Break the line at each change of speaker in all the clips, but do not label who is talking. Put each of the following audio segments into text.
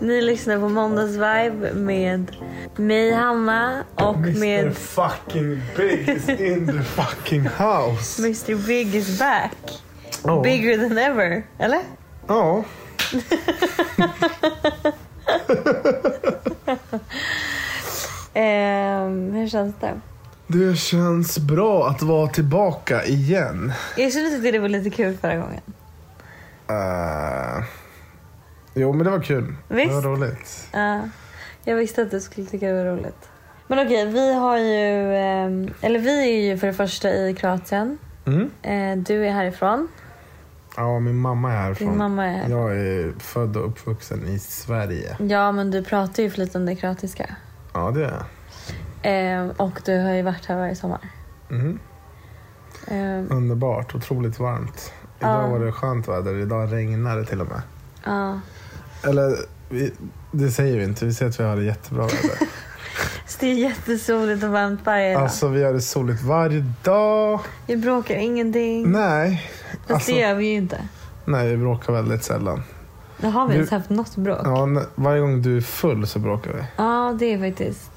Ni lyssnar på Måndagsvibe med mig, Hanna, och
Mr
med
fucking big is in the fucking house.
Mr Big is back.
Ja.
Bigger than ever. Eller?
Ja.
Ehm, hur känns det?
Det känns bra att vara tillbaka igen.
Jag kände typ att det var lite kul förra gången.
Eh, jo, men det var kul.
Visst.
Det var roligt.
Ja, jag visste att du skulle tycka det var roligt. Men okej, vi har ju... ehm, eller vi är ju för det första i Kroatien.
Mm.
Eh, du är härifrån.
Ja, min mamma är härifrån.
Din mamma är här.
Jag är född och uppvuxen i Sverige.
Ja, men du pratar ju flytande kroatiska.
Ja, det är jag.
Ehm, och du har ju varit här varje sommar.
Mm.
Ehm,
Underbart. Otroligt varmt. Idag
Ja.
var det skönt väder. Idag regnar det till och med.
ja.
Eller, vi, det säger vi inte. Vi säger att vi har det jättebra väder.
Så det är jättesoligt och varmt varje dag.
Alltså vi har det soligt varje dag.
Vi bråkar ingenting.
Nej.
Fast
Alltså,
det gör vi ju inte.
nej, vi bråkar väldigt sällan.
Då har vi
Du-
ens haft något bråk. Ja,
Ja, n- varje gång du är full så bråkar vi.
det är faktiskt.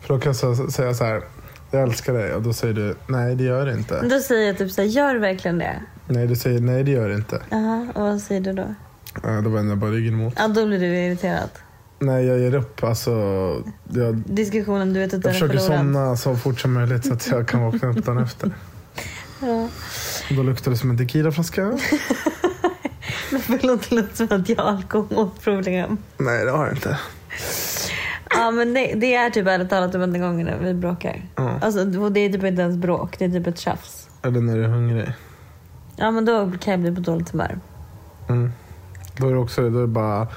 För då kan jag så- säga så här. Jag älskar dig och då säger du nej det gör det inte.
Men Då säger jag typ såhär, gör du verkligen det?
Nej du säger nej det gör det inte.
Jaha, och vad säger du då?
Ja, då vänder jag bara ryggen mot.
Ja, då blir du irriterad.
Nej jag ger upp alltså. Jag,
Diskussionen, du vet att
jag
den är
försöker
förlorad.
somna så fort som möjligt så att jag kan vakna upp dagen efter.
Ja.
Då luktar det som en tequilaflaska.
Förlåt, det låter som att jag har alkoholproblem.
Nej det har jag inte.
Ja, men det, det är typ ärligt talat de enda gångerna vi bråkar.
Ja.
Alltså, och det är typ inte ens bråk, det är typ ett tjafs.
Eller när du är hungrig.
Ja, men då kan jag bli på dåligt humör.
Mm. Då är det också då är det bara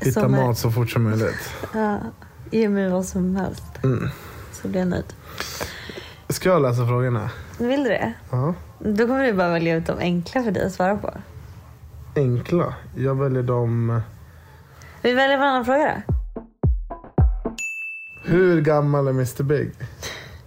hitta
Som är-
mat så fort som möjligt.
Ja, ge mig vad som helst
Mm.
så blir jag nöjd.
Ska jag läsa frågorna?
Vill du det?
Ja.
Då kommer du bara välja ut de enkla för dig att svara på.
Enkla. Jag väljer dem...
Vi väljer varannan fråga då.
Hur gammal är Mr Big?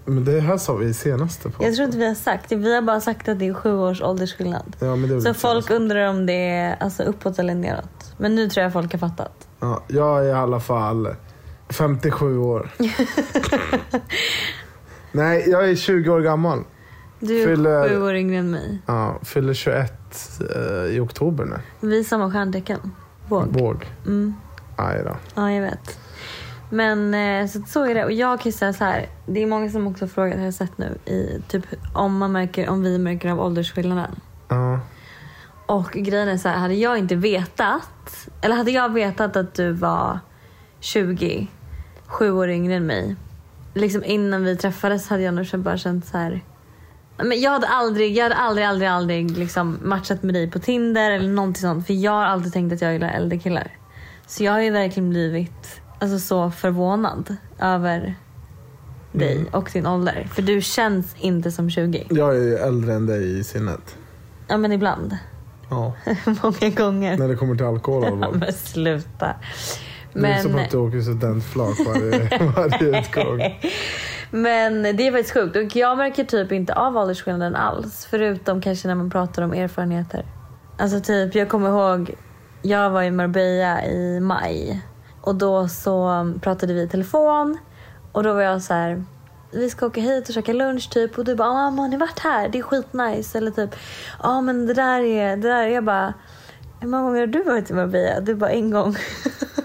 Men det här sa vi i senaste på.
Jag tror inte vi har sagt det. Vi har bara sagt att det är sju års åldersskillnad.
Ja, men det är
Så
väl
folk
senaste.
undrar om det är alltså, uppåt eller neråt. Men nu tror jag folk har fattat.
Ja, jag är i alla fall 57 år. Nej, jag är 20 år gammal.
Du är
Fyller-
sju år yngre än mig.
Ja, fyller 21 eh, i oktober nu.
Vi är samma stjärntecken. Våg.
Våg.
Mm.
Aj då.
Ja, jag vet. Men eh, så, så är det. Och jag kan ju säga så här. Det är många som också frågar, har jag sett nu, i, typ, om, man märker, om vi märker av åldersskillnaden.
Ja.
Och grejen är så här, hade jag inte vetat, eller hade jag vetat att du var 20, sju år yngre än mig, liksom innan vi träffades hade jag nog känt- bara känt så här. Men jag hade aldrig, jag hade aldrig, aldrig, aldrig liksom matchat med dig på Tinder eller någonting sånt. För jag har alltid tänkt att jag gillar äldre killar. Så jag har ju verkligen blivit alltså, så förvånad över dig och din ålder. För du känns inte som 20.
Jag är ju äldre än dig i sinnet.
Ja men ibland.
Ja.
Många gånger.
När det kommer till alkohol i alla
Ja,
fall.
men sluta.
Det är som
Men,
att du åker studentflak varje, varje utgång.
men det är faktiskt sjukt. Och jag märker typ inte av åldersskillnaden alls. Förutom kanske när man pratar om erfarenheter. Alltså typ, jag kommer ihåg. Jag var i Marbella i maj. Och då så pratade vi i telefon. Och då var jag så här. Vi ska åka hit och käka lunch typ. Och du bara, ah, mamma har ni varit här? Det är skitnice. Eller typ, ja ah, men det där är, det där är. Jag bara, hur många gånger har du varit i Marbella? Du bara, en gång.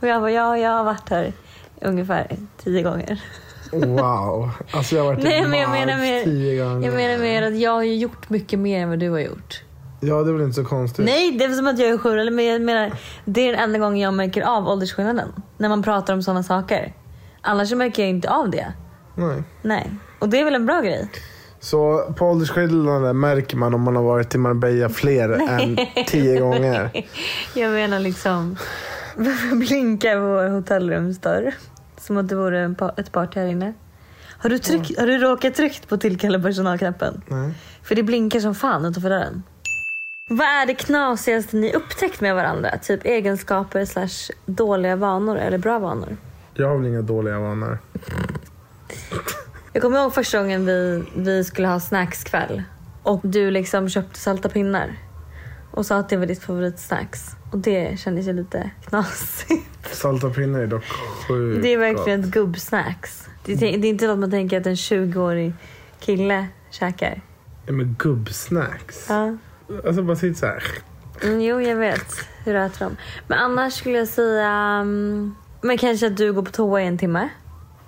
Och jag bara, ja, jag har varit här ungefär tio gånger.
Wow. Alltså jag har varit
Nej,
i
men jag
Mark
menar mer-
tio gånger.
Jag menar mer att jag har ju gjort mycket mer än vad du har gjort.
Ja, det är väl inte så konstigt.
Nej, det är som att jag är sju eller men jag menar, det är den enda gången jag märker av åldersskillnaden. När man pratar om sådana saker. Annars så märker jag inte av det.
Nej.
Nej. Och det är väl en bra grej?
Så på åldersskillnaden märker man om man har varit i Marbella fler än tio gånger.
Jag menar liksom, varför blinkar vår hotellrumsdörr? Som att det vore en pa- ett party här inne. Har du, tryck, har du råkat tryckt på tillkalla personalknappen?
Nej.
För det blinkar som fan utanför dörren. Vad är det knasigaste ni upptäckt med varandra? Typ egenskaper slash dåliga vanor eller bra vanor?
Jag har väl inga dåliga vanor.
Jag kommer ihåg första gången vi, vi skulle ha snackskväll och du liksom köpte salta pinnar och sa att det var ditt favoritsnacks. Och det kändes ju lite knasigt.
Salta pinnar är dock sjukt
Det är verkligen ett gubbsnacks. Det, är- det är inte något man tänker att en 20-årig kille käkar.
gott. Ja, men gubbsnacks.
Ja.
Alltså bara sitt så här.
Mm, jo, jag vet hur du äter dem. Men annars skulle jag säga... mm, men kanske att du går på toa i en timme.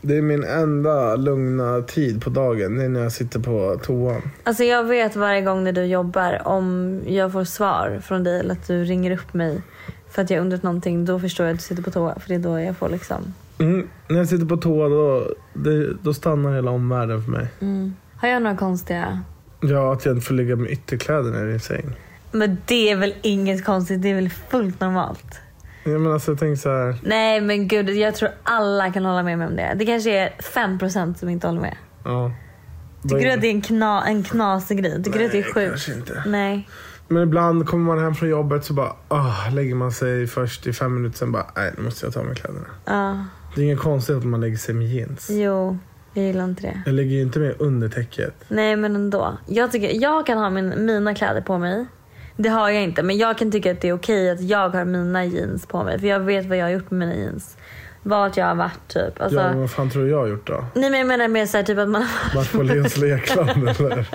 Det är min enda lugna tid på dagen. Det är när jag sitter på toan.
Alltså jag vet varje gång när du jobbar om jag får svar från dig eller att du ringer upp mig för att jag undrat någonting då förstår jag att du sitter på toa för det är då jag får liksom.
Mm. När jag sitter på toa då, det, då stannar hela omvärlden för mig.
Har jag några konstiga?
Ja, att jag inte får ligga med ytterkläderna i din säng.
Men det är väl inget konstigt, det är väl fullt normalt.
Ja, men alltså, jag tänker så här.
Nej men gud, jag tror alla kan hålla med mig om det. Det kanske är 5% som inte håller med.
Ja.
Tycker du att det är en, kna, en knasig grej? Tycker du att det är
Nej,
sjukt?
kanske inte.
Nej.
Men ibland kommer man hem från jobbet så bara ah, lägger man sig först i fem minuter sen bara nej nu måste jag ta av mig kläderna.
Ja,
Det är inget konstigt att man lägger sig med jeans.
jo. Jag gillar inte det.
Jag lägger ju inte med under täcket.
Nej men ändå. Jag, tycker, jag kan ha min, mina kläder på mig. Det har jag inte men jag kan tycka att det är okej att jag har mina jeans på mig. För jag vet vad jag har gjort med mina jeans. Vart jag har varit typ. Alltså,
Ja, men vad fan tror du jag har gjort då?
Nej men jag menar mer såhär typ att man har
Varit på Leos lekland eller?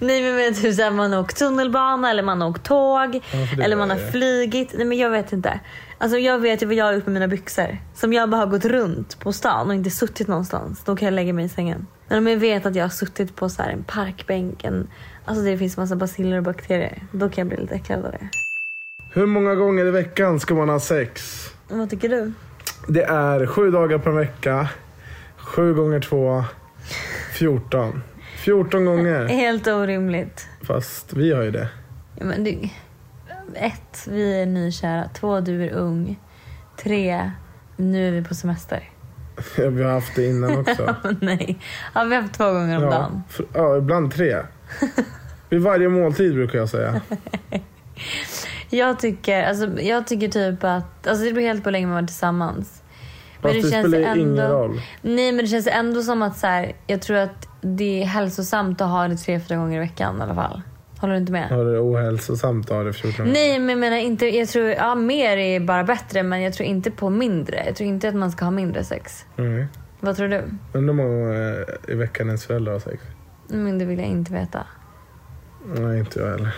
Nej men jag menar typ såhär man har åkt tunnelbana eller man har åkt tåg.
för det
eller man
var
har
det.
flygit. Nej men jag vet inte. Alltså jag vet ju vad jag har gjort med mina byxor. Som jag bara har gått runt på stan och inte suttit någonstans. Då kan jag lägga mig i sängen. Men om jag vet att jag har suttit på så här en parkbänk, en, alltså det finns massa baciller och bakterier. Då kan jag bli lite äcklad av det.
Hur många gånger i veckan ska man ha sex?
Men Vad tycker du?
Det är sju dagar per vecka. Sju gånger två. 14. 14 gånger.
Helt orimligt.
Fast vi har ju det.
Ja, men du, ett, vi är nykära. Två, du är ung. Tre, nu är vi på semester.
Ja, Vi har haft det innan också.
Nej, har vi haft två gånger om
Ja,
dagen?
för, ja ibland tre. Vid varje måltid brukar jag säga.
Jag tycker, alltså, jag tycker typ att... Alltså det beror helt på hur länge man varit tillsammans.
Fast det, spelar ju ingen roll.
Nej men det känns ändå som att så här, jag tror att det är hälsosamt att ha det tre, fyra gånger i veckan i alla fall. Håller du inte med?
Har det ohälsosamt att ha det 14 gånger.
Nej men jag menar inte, jag tror, ja mer är bara bättre men jag tror inte på mindre. Jag tror inte att man ska ha mindre sex.
Mm.
Vad tror du?
Undrar hur många gånger i veckan ens föräldrar har sex.
Men det vill jag inte veta.
Nej, inte jag heller.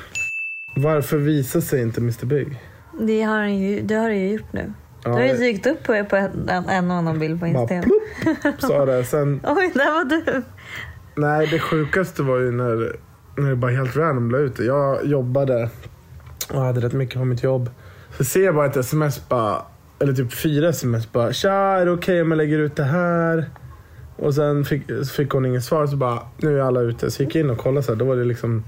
Varför visar sig inte Mr Big?
Det har, han ju, det har du ju gjort nu. du
Ja,
har ju
det-
dykt upp på, på en, en och annan bild på
Bara
Instagram.
plopp, sa det. Sen
Oj, där var du.
Nej, det sjukaste var ju när, när det bara helt random la ut det. Jag jobbade och hade rätt mycket på mitt jobb. Så ser jag bara ett sms bara, eller typ fyra sms bara. Tja, är det okej om jag lägger ut det här? Och sen fick, så fick hon inget svar så bara, nu är alla ute. Så gick jag in och kollade så här, då var det liksom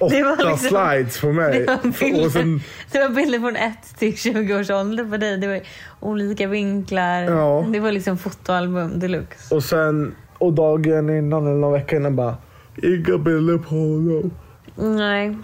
åtta
Det var liksom-
slides på mig.
Det var bilder,
Och sen,
det var bilder från 1 till 20 års ålder på dig. Det var olika vinklar.
Ja.
Det var liksom fotoalbum deluxe.
och sen, och dagen innan eller någon vecka innan bara, inga bilder på honom.
Nej.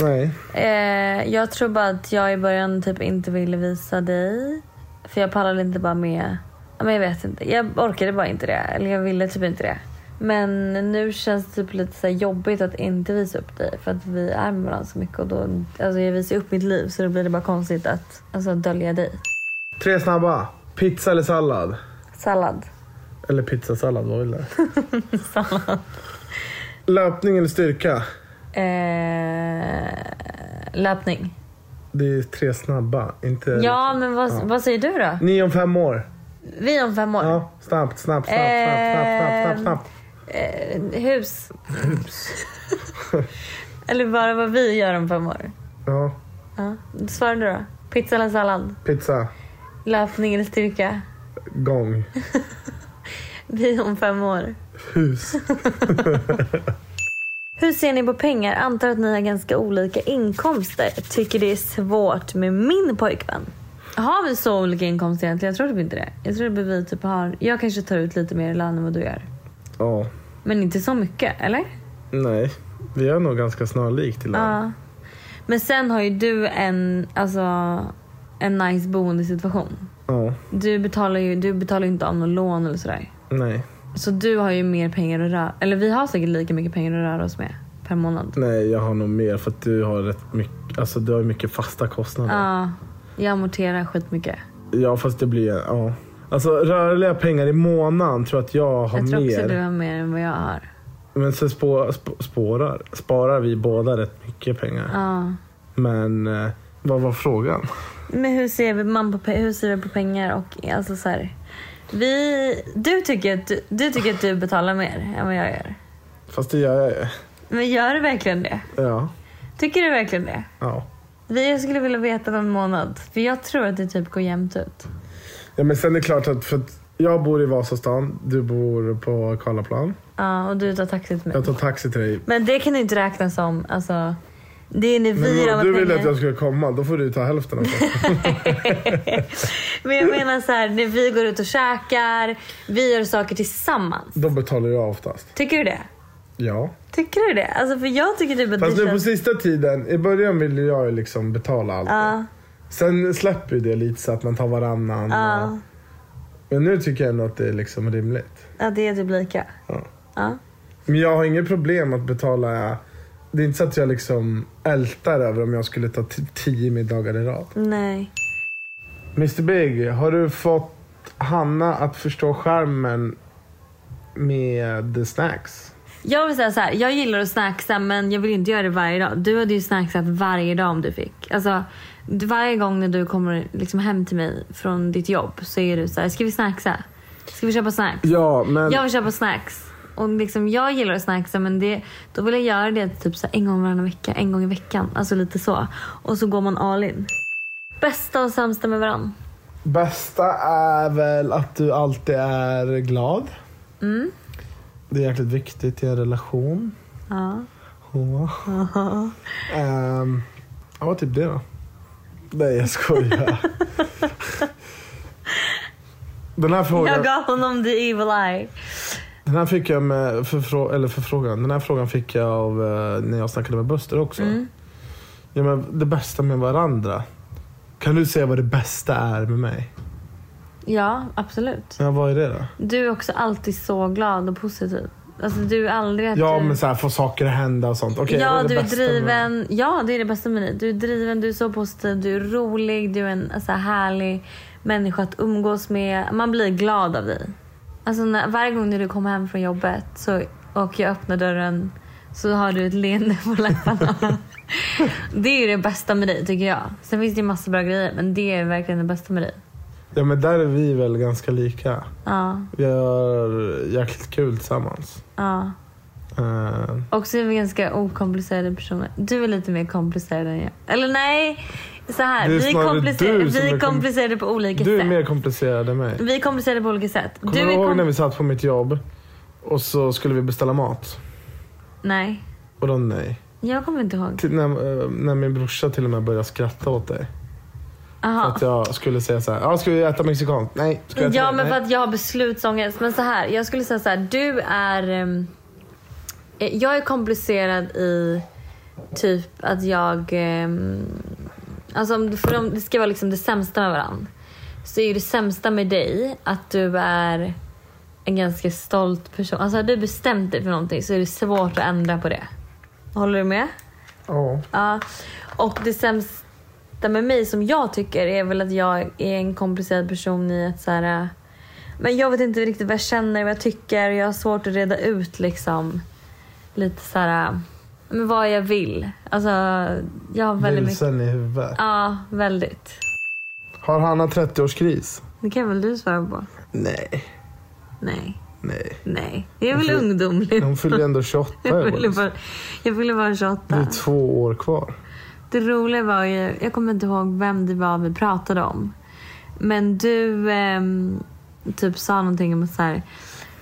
Nej.
Eh, jag tror bara att jag i början typ inte ville visa dig. För jag pallade inte bara med. Ja, Men jag vet inte. Jag orkade bara inte det. Eller jag ville typ inte det. Men nu känns det typ lite så här jobbigt att inte visa upp dig. För att vi är med varandra så mycket. Och då, alltså jag visar ju upp mitt liv så då blir det bara konstigt att alltså, dölja dig.
Tre snabba. Pizza eller sallad?
Sallad.
Eller pizzasallad, vad vill du? sallad. Löpning eller styrka?
Eh, löpning.
Det är tre snabba, inte...
Eh, Ja, men vad, vad säger du då?
Ni om fem år.
Vi om fem år.
Ja, snabbt, snabbt, snabbt, snabbt, snabbt, snabbt, snabbt.
Eh, hus. eller bara vad vi gör om fem år.
Ja,
Ja. Svara du då. Pizza eller sallad?
pizza,
Löpning eller styrka?
gång.
Vi är om fem år.
Hus.
Hur ser ni på pengar? Antar att ni har ganska olika inkomster. Tycker det är svårt med min pojkvän. Har vi så olika inkomster egentligen? Jag tror typ inte det. Jag tror att vi typ har... Jag kanske tar ut lite mer i lön än vad du gör.
Ja.
Men inte så mycket, eller?
Nej. Vi är nog ganska snarlikt till varandra.
Ja. Men sen har ju du en, alltså, en nice boendesituation.
Ja.
Du betalar ju du betalar ju inte av något lån eller sådär.
Nej.
Så du har ju mer pengar att röra... Eller vi har säkert lika mycket pengar att röra oss med per månad.
Nej, jag har nog mer för att du har rätt mycket, alltså du har ju mycket fasta kostnader.
Ja. Jag amorterar skitmycket.
Ja, fast det blir, ja. Alltså rörliga pengar i månaden tror jag att jag har
Jag tror också
mer.
du har mer än vad jag har.
Men sen spå, sp- spårar, sparar vi båda rätt mycket pengar.
Ja.
Men eh, vad var frågan?
Men hur ser vi, man på, pe- hur ser vi på pengar och alltså så här, vi, du, tycker att du, du tycker att du betalar mer än vad jag gör.
Fast det gör jag ju.
Men gör du verkligen det?
Ja.
Tycker du verkligen det?
ja.
Vi jag skulle vilja veta på en månad. För jag tror att det typ går jämnt ut.
Ja men sen är det klart att, för att jag bor i Vasastan, du bor på Karlaplan.
Ja, och du tar taxi till mig.
Jag tar taxi till dig.
Men det kan du inte räkna som, alltså. Det är när
Men
vi
om
har
du
pengar.
ville att jag skulle komma, då får du ta hälften av det.
Men jag menar så här, när vi går ut och käkar, vi gör saker tillsammans.
Då betalar jag oftast.
Tycker du det?
Ja.
Tycker du det? Alltså för jag tycker typ att
Fast
det
nu på sista tiden, i början ville jag ju liksom betala allt.
Ja,
Sen släpper ju det lite så att man tar varannan.
ja.
och- Men nu tycker jag ändå att det är liksom rimligt.
Ja, det är typ lika.
Ja.
Ja.
Men jag har inget problem att betala. Det är inte så att jag liksom ältar över om jag skulle ta t- tio middagar i rad.
Nej.
Mr Big, har du fått Hanna att förstå skärmen med snacks?
Jag vill säga så här, jag gillar att snacksa men jag vill inte göra det varje dag. Du hade ju snacksat varje dag om du fick. Alltså, du- varje gång när du kommer liksom hem till mig från ditt jobb så är du så här, ska vi snacksa? Ska vi köpa snacks?
Ja, men...
Jag vill köpa snacks. Och liksom, jag gillar att snacksa men det, då vill jag göra det typ så här, en gång varannan vecka, en gång i veckan. Alltså lite så. Och så går man all in. Bästa och sämsta med varandra.
Bästa är väl att du alltid är glad.
Mm.
Det är jäkligt viktigt i en relation.
Ja.
Ja. Ehm, ja, vad typ det då? Nej, jag skojar. den, här frågan,
Jag gav honom the evil eye.
den här fick jag med förfrå- eller förfrågan. Den här frågan fick jag av eh, när jag snackade med Buster också.
Mm.
Ja, men det bästa med varandra. Kan du säga vad det bästa är med mig?
Ja, absolut.
Ja, vad är det då?
Du är också alltid så glad och positiv. Alltså du är aldrig att
Ja,
du...
men så här, få saker att hända och sånt. Okej, vad
ja,
det
du är
bästa med-
driven. Ja, det är det bästa med dig. Du är driven, du är så positiv, du är rolig, du är en alltså, härlig människa att umgås med. Man blir glad av dig. Alltså när, varje gång när du kommer hem från jobbet så, och jag öppnar dörren så har du ett leende på läpparna. det är ju det bästa med dig tycker jag. Sen finns det ju massa bra grejer men det är verkligen det bästa med dig.
Ja, men där är vi väl ganska lika.
Ja,
Vi har jäkligt kul tillsammans.
ja.
Ehm,
Och så är vi ganska okomplicerade personer. Du är lite mer komplicerad än jag. Eller nej, så här.
Det är
Vi är,
snarare
komplicerade,
du som
vi
är
är
kom-
komplicerade på olika
Du är
sätt.
mer komplicerad än mig.
Vi är komplicerade på olika sätt.
Kommer du,
är
ihåg
kom-
när vi satt på mitt jobb och så skulle vi beställa mat?
Nej,
Och då nej.
jag kommer inte ihåg.
Till, när, eh, när min brorsa till och med började skratta åt dig.
Aha.
Att jag skulle säga så här, ja ska vi äta mexikanskt? Nej. Ska vi äta
Ja
det?
men för
Nej.
att jag har beslutsångest. Men så här, jag skulle säga så här. Du är... ehm, eh, jag är komplicerad i typ att jag... ehm, alltså om, för om det ska vara liksom det sämsta med varandra. Så är ju det sämsta med dig att du är en ganska stolt person. Alltså har du bestämt dig för någonting så är det svårt att ändra på det. Håller du med?
Ja.
Ja. Och det sämsta med mig som jag tycker är väl att jag är en komplicerad person i att så här, äh, Men jag vet inte riktigt vad jag känner, vad jag tycker. Jag har svårt att reda ut liksom lite så här, äh, men vad jag vill. Alltså jag har väldigt mycket.
Vilsen i huvudet.
Ja, väldigt.
Har Hanna 30-årskris?
Det kan väl du svara på?
Nej.
Nej,
Nej.
nej. Jag är väl
Hon fyll-
ungdomlig.
Hon fyller ju ändå 28 i
Jag
år.
ville bara, jag ville bara
Det är
tjata.
två år kvar.
Det roliga var ju, jag kommer inte ihåg vem det var vi pratade om. Men du ehm, typ sa någonting om att så här,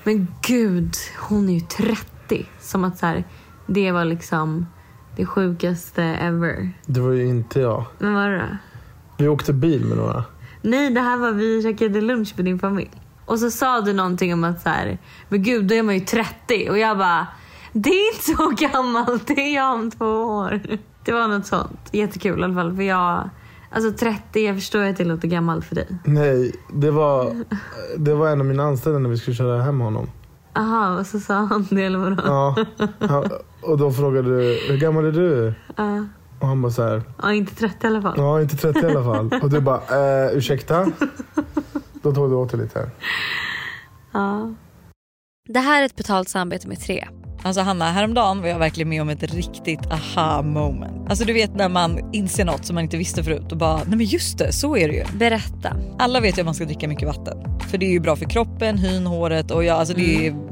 Men gud, hon är ju 30. Som att så här, det var liksom det sjukaste ever.
Det var ju inte jag.
Men vad var det då?
Vi åkte bil med några.
Nej, det här var vi käkade lunch med din familj. Och så sa du någonting om att så här, men gud då är man ju 30. Och jag bara, det är inte så gammalt, det är jag om två år. Det var något sånt. Jättekul i alla fall. För jag, alltså 30, jag förstår att det låter gammalt för dig.
Nej, det var, det var en av mina anställda när vi skulle köra hem honom.
Aha, och så sa han det eller vadå?
Ja, han, och då frågade du, hur gammal är du?
Ja.
Och han bara så här,
Ja, inte 30 i alla fall.
ja inte 30 i alla fall. Och du bara, eh, ursäkta? Då tog du åt dig lite.
Ja.
Det här är ett betalt samarbete med Tre.
Alltså Hanna, häromdagen var jag verkligen med om ett riktigt aha moment. Alltså du vet när man inser något som man inte visste förut och bara, nej men just det, så är det ju.
Berätta.
Alla vet ju att man ska dricka mycket vatten. För det är ju bra för kroppen, hyn, håret och ja, alltså det, är,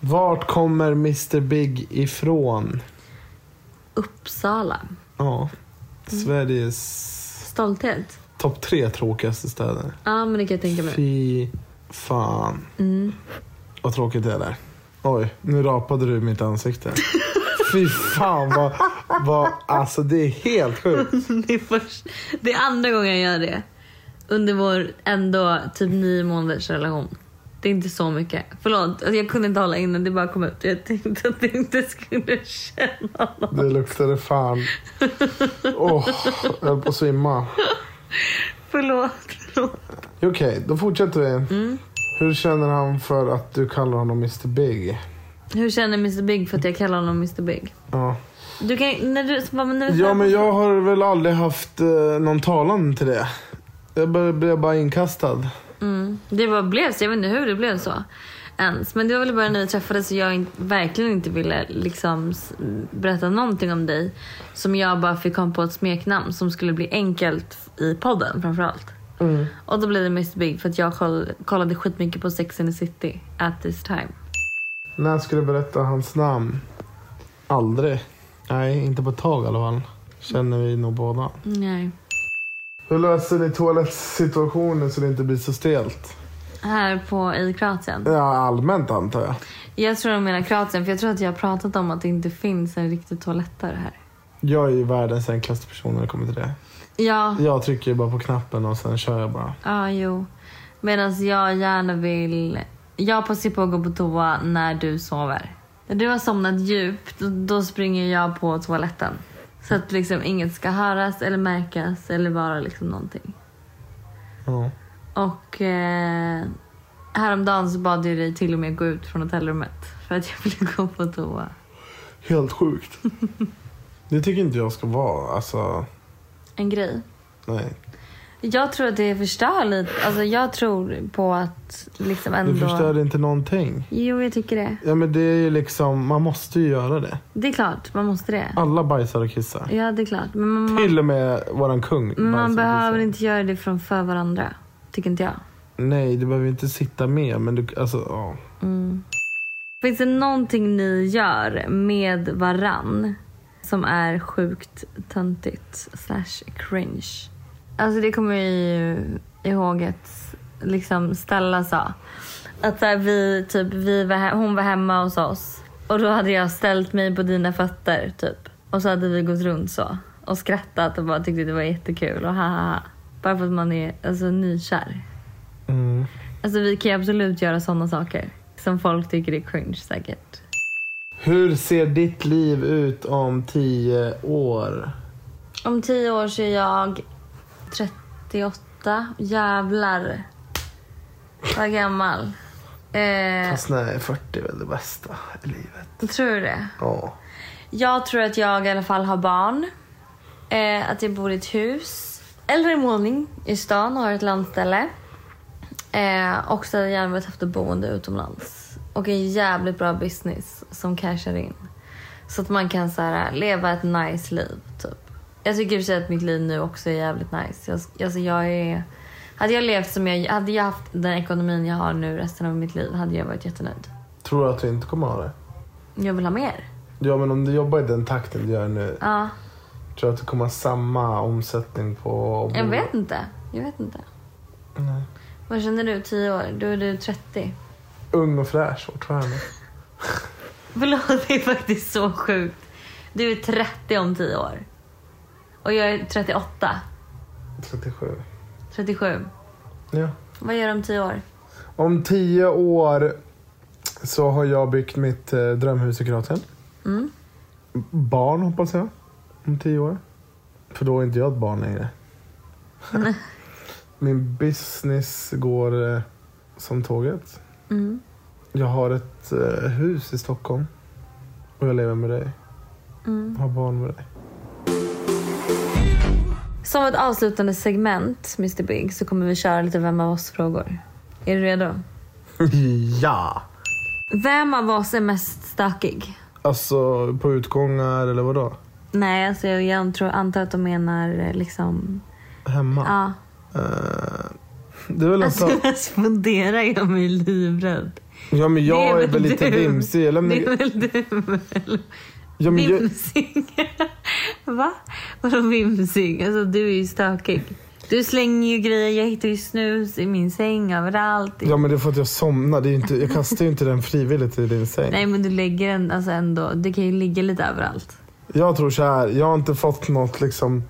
Vart kommer Mr Big ifrån?
Uppsala.
Ja, Sveriges
Stolthet.
topp tre tråkigaste städer.
Ja, men det kan jag tänka mig.
Fy fan. Vad tråkigt det är där. Oj, nu rapade du mitt ansikte. Fy fan vad, vad, alltså det är helt sjukt.
Det är, först, det är andra gången jag gör det. Under vår ändå typ nio månaders relation. Det är inte så mycket. Förlåt, alltså jag kunde inte hålla inne. Det bara kom ut. Jag tänkte att det inte skulle känna något.
Det luktade fan. Åh, jag höll på att svimma.
Förlåt, förlåt.
Okej, då fortsätter vi. Hur känner han för att du kallar honom Mr Big?
Hur känner Mr Big för att jag kallar honom Mr Big?
Ja.
Du kan, när du, så bara, men när vi-
ja, men jag har väl aldrig haft eh, någon talan till det. Jag bara- blev bara inkastad.
Mm. Det bara blev så. Jag vet inte hur det blev så. Ens. Men det var väl bara när vi träffades och jag in, verkligen inte ville liksom s- berätta någonting om dig. Som jag bara fick komma på ett smeknamn som skulle bli enkelt i podden framförallt.
Mm.
Och då blev det Mr Big för att jag koll, kollade skitmycket på Sex and the City at this time.
När jag skulle berätta hans namn? Aldrig. Nej, inte på ett tag i alla fall. Känner vi nog båda.
Nej.
Hur löser ni toalettsituationen så det inte blir så stelt?
Här på, i Kroatien.
Ja, allmänt antar jag.
Jag tror de menar Kroatien för jag tror att jag har pratat om att det inte finns en riktig toalett där här.
Jag är ju världens enklaste person när det kommer till det.
Ja,
Jag trycker ju bara på knappen och sen kör jag bara.
Ja, jo. Medan jag gärna vill... Jag passar på att gå på toa när du sover. När du har somnat djupt, då- då springer jag på toaletten. Så att liksom inget ska höras eller märkas eller vara liksom någonting.
Ja.
Och eh, häromdagen så bad jag dig till och med gå ut från hotellrummet för att jag ville gå på toa.
Helt sjukt. Det tycker inte jag ska vara. Alltså,
En grej.
nej.
Jag tror att det förstör lite. Alltså jag tror på att liksom ändå...
Det förstör inte någonting.
Jo, jag tycker det.
Ja men det är ju liksom, man måste ju göra det.
Det är klart, man måste det.
Alla bajsar och kissar.
Ja, det är klart. Men man,
Till och med våran kung
man,
bajsar och
behöver
kissar.
inte göra det från för varandra. Tycker inte jag.
Nej, du behöver inte sitta med men du, alltså ja.
Mm. Finns det någonting ni gör med varann som är sjukt töntigt slash cringe? Alltså det kommer jag ju ihåg att liksom Stella sa. Att så här, vi, typ, vi var he- hon var hemma hos oss och då hade jag ställt mig på dina fötter typ. Och så hade vi gått runt så och skrattat och bara tyckte det var jättekul och ha ha ha. Bara för att man är alltså, nykär.
Mm.
Alltså vi kan ju absolut göra sådana saker. Som folk tycker är cringe säkert.
Hur ser ditt liv ut om tio år?
Om tio år så är jag 38. Jävlar. Vad gammal. Eh,
Fast nej, 40 är väl det bästa i livet.
tror du det?
Ja.
Jag tror att jag i alla fall har barn. Eh, att jag bor i ett hus. Eller en våning i stan och har ett landställe. Eh, också hade jag gärna velat haft ett boende utomlands. Och en jävligt bra business som cashar in. Så att man kan så här, leva ett nice liv. Typ. Jag tycker i och för sig att mitt liv nu också är jävligt nice. Jag, alltså jag är, hade jag levt som jag... Hade jag haft den ekonomin jag har nu resten av mitt liv hade jag varit jättenöjd.
Tror du att du inte kommer ha det?
Jag vill ha mer.
Ja men om du jobbar i den takten du gör nu,
Ja,
tror du att du kommer ha samma omsättning på...
jag vet inte. Jag vet inte.
Mm. Nej.
Vad känner du? 10 år? Då är du 30.
Ung och fräsch fortfarande.
Förlåt, det är faktiskt så sjukt. Du är 30 om 10 år. Och jag är 38.
37.
37.
Ja.
Vad gör du om 10 år?
Om tio år så har jag byggt mitt eh, drömhus i Kroatien.
Mm.
Barn hoppas jag. Om tio år. För då är inte jag ett barn längre. Min business går eh, som tåget.
Mm.
Jag har ett eh, hus i Stockholm. Och jag lever med dig.
Mm.
Har barn med dig.
Som ett avslutande segment, Mr Big, så kommer vi köra lite Vem av oss-frågor. Är du redo?
ja!
Vem av oss är mest stökig?
Alltså på utgångar eller vadå?
Nej, alltså jag, jag tror, antar att de menar eh, liksom...
Hemma?
Ja.
Eh, det är väl alltså...
Alltså, funderar jag mig livrädd.
Ja men
Det
jag är
väl
väl lite
du.
vimsig. Eller, men,
Det är väl du? eller?
ja, men, jag,
Vimsig? Va? Vadå vimsig? Alltså du är ju stökig. Du slänger ju grejer, jag hittar ju snus i min säng överallt.
ja men det är för att jag somnar. Det är ju inte, jag kastar ju inte den frivilligt i din säng.
Nej men du lägger den alltså ändå, det kan ju ligga lite överallt.
Jag tror så här. jag har inte fått något liksom.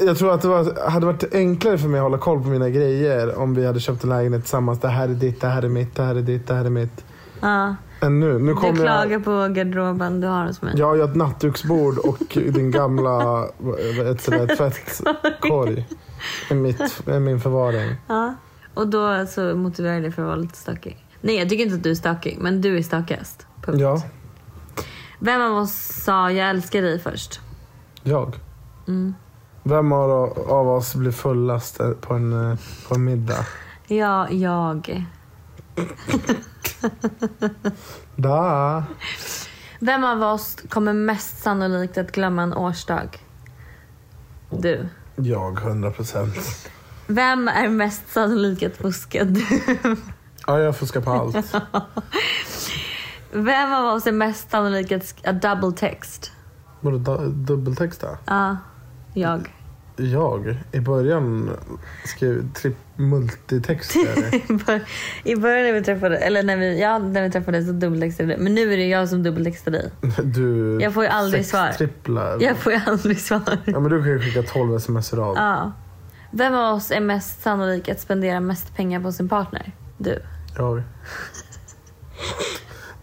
Jag tror att det var, hade varit enklare för mig att hålla koll på mina grejer om vi hade köpt en lägenhet tillsammans. Det här är ditt, det här är mitt, det här är ditt, det här är mitt.
Ja.
Än nu. Nu
Du
kommer
klagar
jag.
på garderoben du har hos mig.
Jag har ju ett nattduksbord och din gamla ett, ett tvättkorg. Är, mitt, är min förvaring.
Ja. alltså, Och då så motiverar det för att vara lite stökig. Nej jag tycker inte att du är stökig, men du är stökigast. Punkt.
Ja,
Vem av oss sa jag älskar dig först?
jag.
Mm.
Vem av, av oss blir fullast på en, eh, på en middag?
Ja, jag.
Da.
Vem av oss kommer mest sannolikt att glömma en årsdag? Du.
Jag, 100 procent.
Vem är mest sannolik att fuska? Du.
Ja, jag fuskar på allt.
Vem av oss är mest sannolik att, sk- att double text?
Vadå, da- dubbeltexta?
Ja, jag.
Jag, i början skrev tripp multitexter.
I bör- I början när vi träffade, eller när vi, ja, när vi träffades så dubbeltextade du. Men nu är det jag som dubbeltextar dig.
Du
Jag får ju aldrig svar.
sextripplar.
Jag får ju aldrig svar.
Ja, men du kan ju skicka 12 sms i rad.
Ja. Vem av oss är mest sannolik att spendera mest pengar på sin partner? Du.
Jag.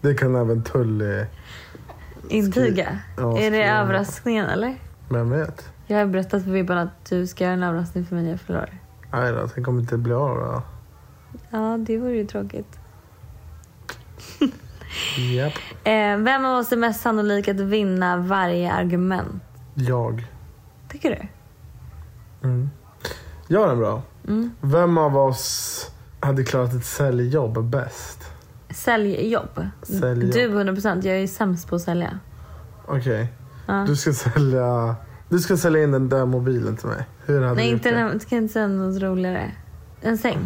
Det kan även Tully.
Intyga.
Ja,
är det
skriva.
överraskningen eller?
Vem vet?
Jag har berättat för Vibban att du ska göra en överraskning för mig när jag förlorar.
Nej då, tänk om det inte blir av då.
Ja, det vore ju tråkigt.
Japp.
Eh, vem av oss är mest sannolik att vinna varje argument?
Jag.
Tycker du?
Gör den bra.
Mm.
Vem av oss hade klarat ett säljjobb bäst?
Säljjobb.
Säljjobb.
Du 100%. Jag är ju sämst på att sälja.
Okej.
Ja.
Du ska sälja... Du ska sälja in den där mobilen till mig. Hur hade
Nej,
du
inte
gjort
den
det?
här, jag kan inte säga något roligare. En säng.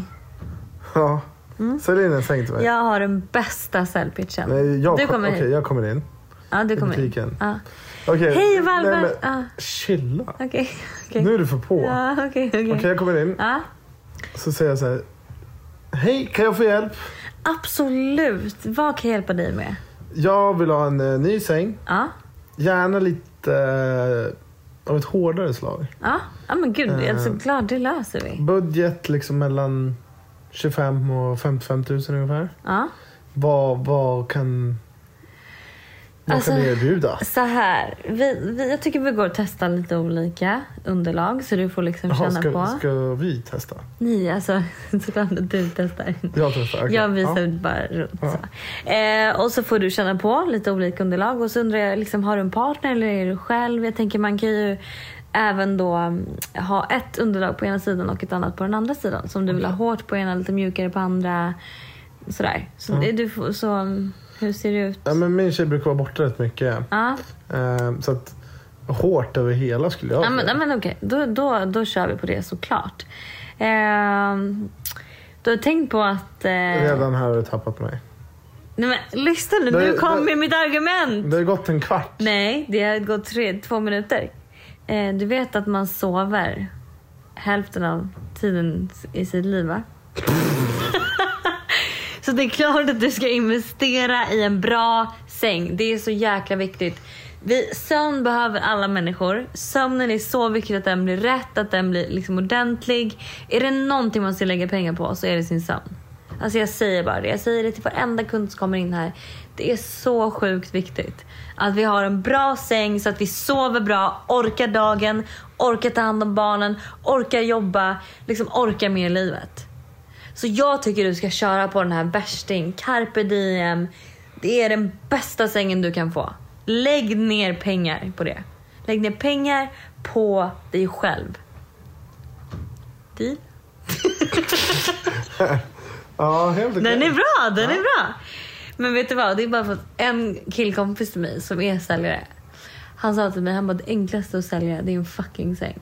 Ja.
Mm.
Sälj in en säng till mig.
Jag har den bästa säljpitchen.
Nej, jag
du
kom-
kommer
Okej,
hit.
jag kommer in.
Ja, du
i
kommer hit.
butiken.
Ja.
Okej.
Hej, Valve.
Nej, men-
Ah.
Chilla.
Okej, okej.
Nu är du för på.
Ja, okej, okej.
Okej, jag kommer in.
Ja,
Så säger jag så här. Hej, kan jag få hjälp?
absolut. Vad kan jag hjälpa dig med?
Jag vill ha en eh, ny säng.
Ja,
Gärna lite eh, av ett hårdare slag.
ja. ja men gud. Jag är så
Eh.
glad. Det löser vi.
Budget liksom mellan 25 och 55 000 ungefär.
Ja.
Vad, vad kan... Vad
Alltså-
kan ni erbjuda?
Så här, vi, vi, jag tycker vi går och testar lite olika underlag så du får liksom
Jaha,
känna på.
ska, ska vi testa?
Ni, alltså såklart att du testar.
Jag testar. okej.
Jag
Ja.
visar bara runt.
Ja.
Så. Eh, och så får du känna på lite olika underlag. Och så undrar jag, liksom, har du en partner eller är du själv? Jag tänker man kan ju även då mm, ha ett underlag på ena sidan och ett annat på den andra sidan. Så om du vill ha hårt på ena, lite mjukare på andra. Sådär. Så, det- du, får- så mm, hur ser det ut?
Ja, men min tjej brukar vara borta rätt mycket.
Ja.
Eh, så att hårt över hela skulle jag
Ja, men,
säga.
ja, men okej, då, då, då kör vi på det såklart. Ehm, du har tänkt på att... Eh,
Redan här har du tappat mig.
nej, men, lyssna nu,
Det-
nu kom
det-
med mitt argument!
Det har gått en kvart.
Nej, det har gått tre, två minuter. Eh, du vet att man sover hälften av tiden i sitt liv, va? Så det är klart att du ska investera i en bra säng. Det är så jäkla viktigt. Vi, sömn behöver alla människor. Sömnen är så viktigt att den blir rätt, att den blir liksom ordentlig. Är det någonting man ska lägga pengar på så är det sin sömn. Alltså jag säger bara det. Jag säger det till varenda kund som kommer in här. Det är så sjukt viktigt. Att vi har en bra säng så att vi sover bra, orkar dagen, orkar ta hand om barnen, orkar jobba, liksom orkar med i livet. Så jag tycker du ska köra på den här värsting, carpe diem. Det är den bästa sängen du kan få. Lägg ner pengar på det. Lägg ner pengar på dig själv. Deal?
Ja, helt okej.
Den är bra, den är bra. Men vet du vad? Det är bara för att en killkompis till mig som är säljare. Han sa till mig, han bara det enklaste att sälja det är en fucking säng.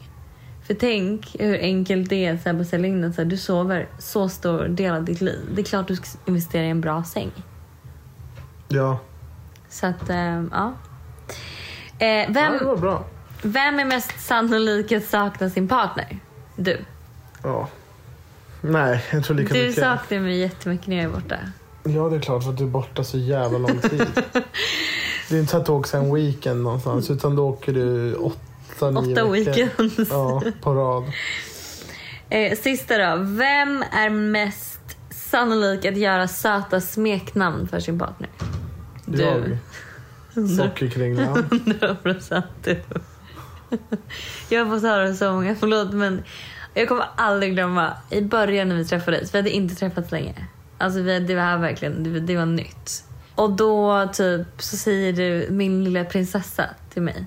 För tänk hur enkelt det är att så här bara sälja in den. Så här, du sover så stor del av ditt liv. Det är klart du ska investera i en bra säng.
Ja,
Så att, eh, ja. Eh,
ja det var
vem,
bra.
vem är mest sannolik att sakna sin partner? Du.
Ja. Nej, jag tror lika
Du
mycket.
saknar mig jättemycket när jag är borta.
Ja, det är klart för att du är borta så jävla lång tid. det är inte så att du åker en weekend någonstans utan då åker du åtta, nio
Mm. Åtta
veckor.
weekends.
Ja, på rad.
Eh, sista då. Vem är mest sannolik att göra söta smeknamn för sin partner? Du.
Jag. Sockerkringlan.
100 procent du. Jag har fått höra så många, förlåt men jag kommer aldrig glömma i början när vi träffades, vi hade inte träffats länge. Alltså vi, det var här verkligen, det, det var nytt. Och då typ så säger du min lilla prinsessa till mig.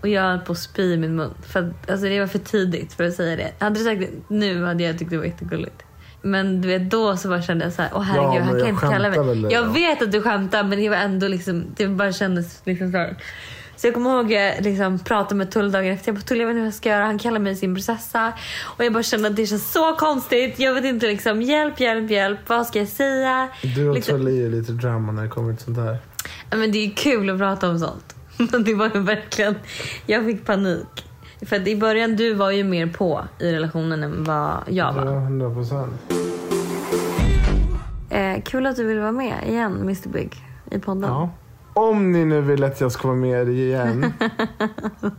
Och jag höll på att spy i min mun. För att, alltså det var för tidigt för att säga det. Hade du sagt det nu hade jag tyckt det var jättegulligt. Men du vet då så bara kände jag så här, åh
Ja,
herregud
men
han
jag
kan inte kalla
skämtar
mig.
väl,
Jag
ja.
vet att du skämtar men det var ändå liksom, det bara kändes liksom så. här. Så jag kommer ihåg jag liksom pratade med Tull dagen efter. Jag bara, Tull jag vet inte vad jag ska göra. Han kallar mig sin prinsessa. Och jag bara kände att det känns så konstigt. Jag vet inte liksom, hjälp, hjälp, hjälp. Vad ska jag säga?
Du och
liksom,
Tully är ju lite drama när det kommer till sånt här.
Ja, Men det är kul att prata om sånt. Men det var ju verkligen... Jag fick panik. För att i början, du var ju mer på i relationen än vad jag
Ja,
var.
100 procent.
Eh, kul att du vill vara med igen, Mr Big, i podden.
Ja. Om ni nu vill att jag ska vara med igen.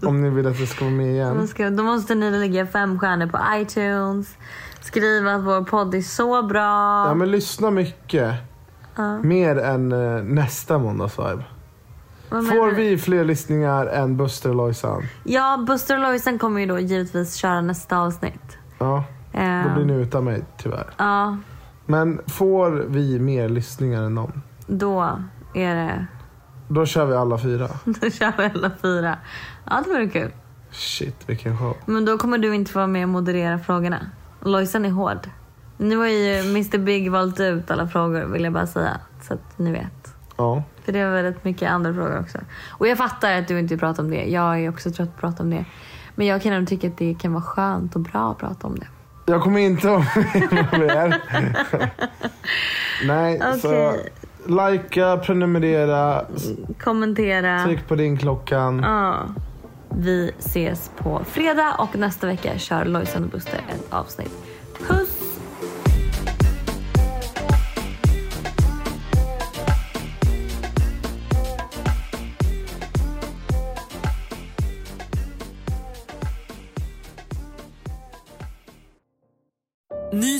om ni vill att jag ska vara med
Då
igen.
ska- Då måste ni lägga fem stjärnor på iTunes. Skriva att vår podd är så bra.
Ja men lyssna mycket. Mer än eh, nästa måndagsvibe.
Vad
Får
menar du?
vi fler lyssningar än Buster och Lojsan?
Ja, Buster och Lojsan kommer ju då givetvis köra nästa avsnitt.
Ja, då
Eh,
blir ni utan mig tyvärr.
Ja,
Men får vi mer lyssningar än någon?
då är det...
Då kör vi alla fyra.
Då kör vi alla fyra. Ja, det vore kul.
Shit vilken show.
Men då kommer du inte få vara med och moderera frågorna. Lojsan är hård. Nu har ju Mr Big valt ut alla frågor vill jag bara säga. Så att ni vet.
Ja.
För det var väldigt mycket andra frågor också. Och jag fattar att du inte pratar om det. Jag är också trött på att prata om det. Men jag kan ändå tycka att det kan vara skönt och bra att prata om det.
Jag kommer inte att vara med er. Nej, så
Okej.
likea, prenumerera, s-
Kommentera.
tryck på din klockan.
Ja. Vi ses på fredag och nästa vecka kör Lojsan och Buster ett avsnitt. Puss!
Ny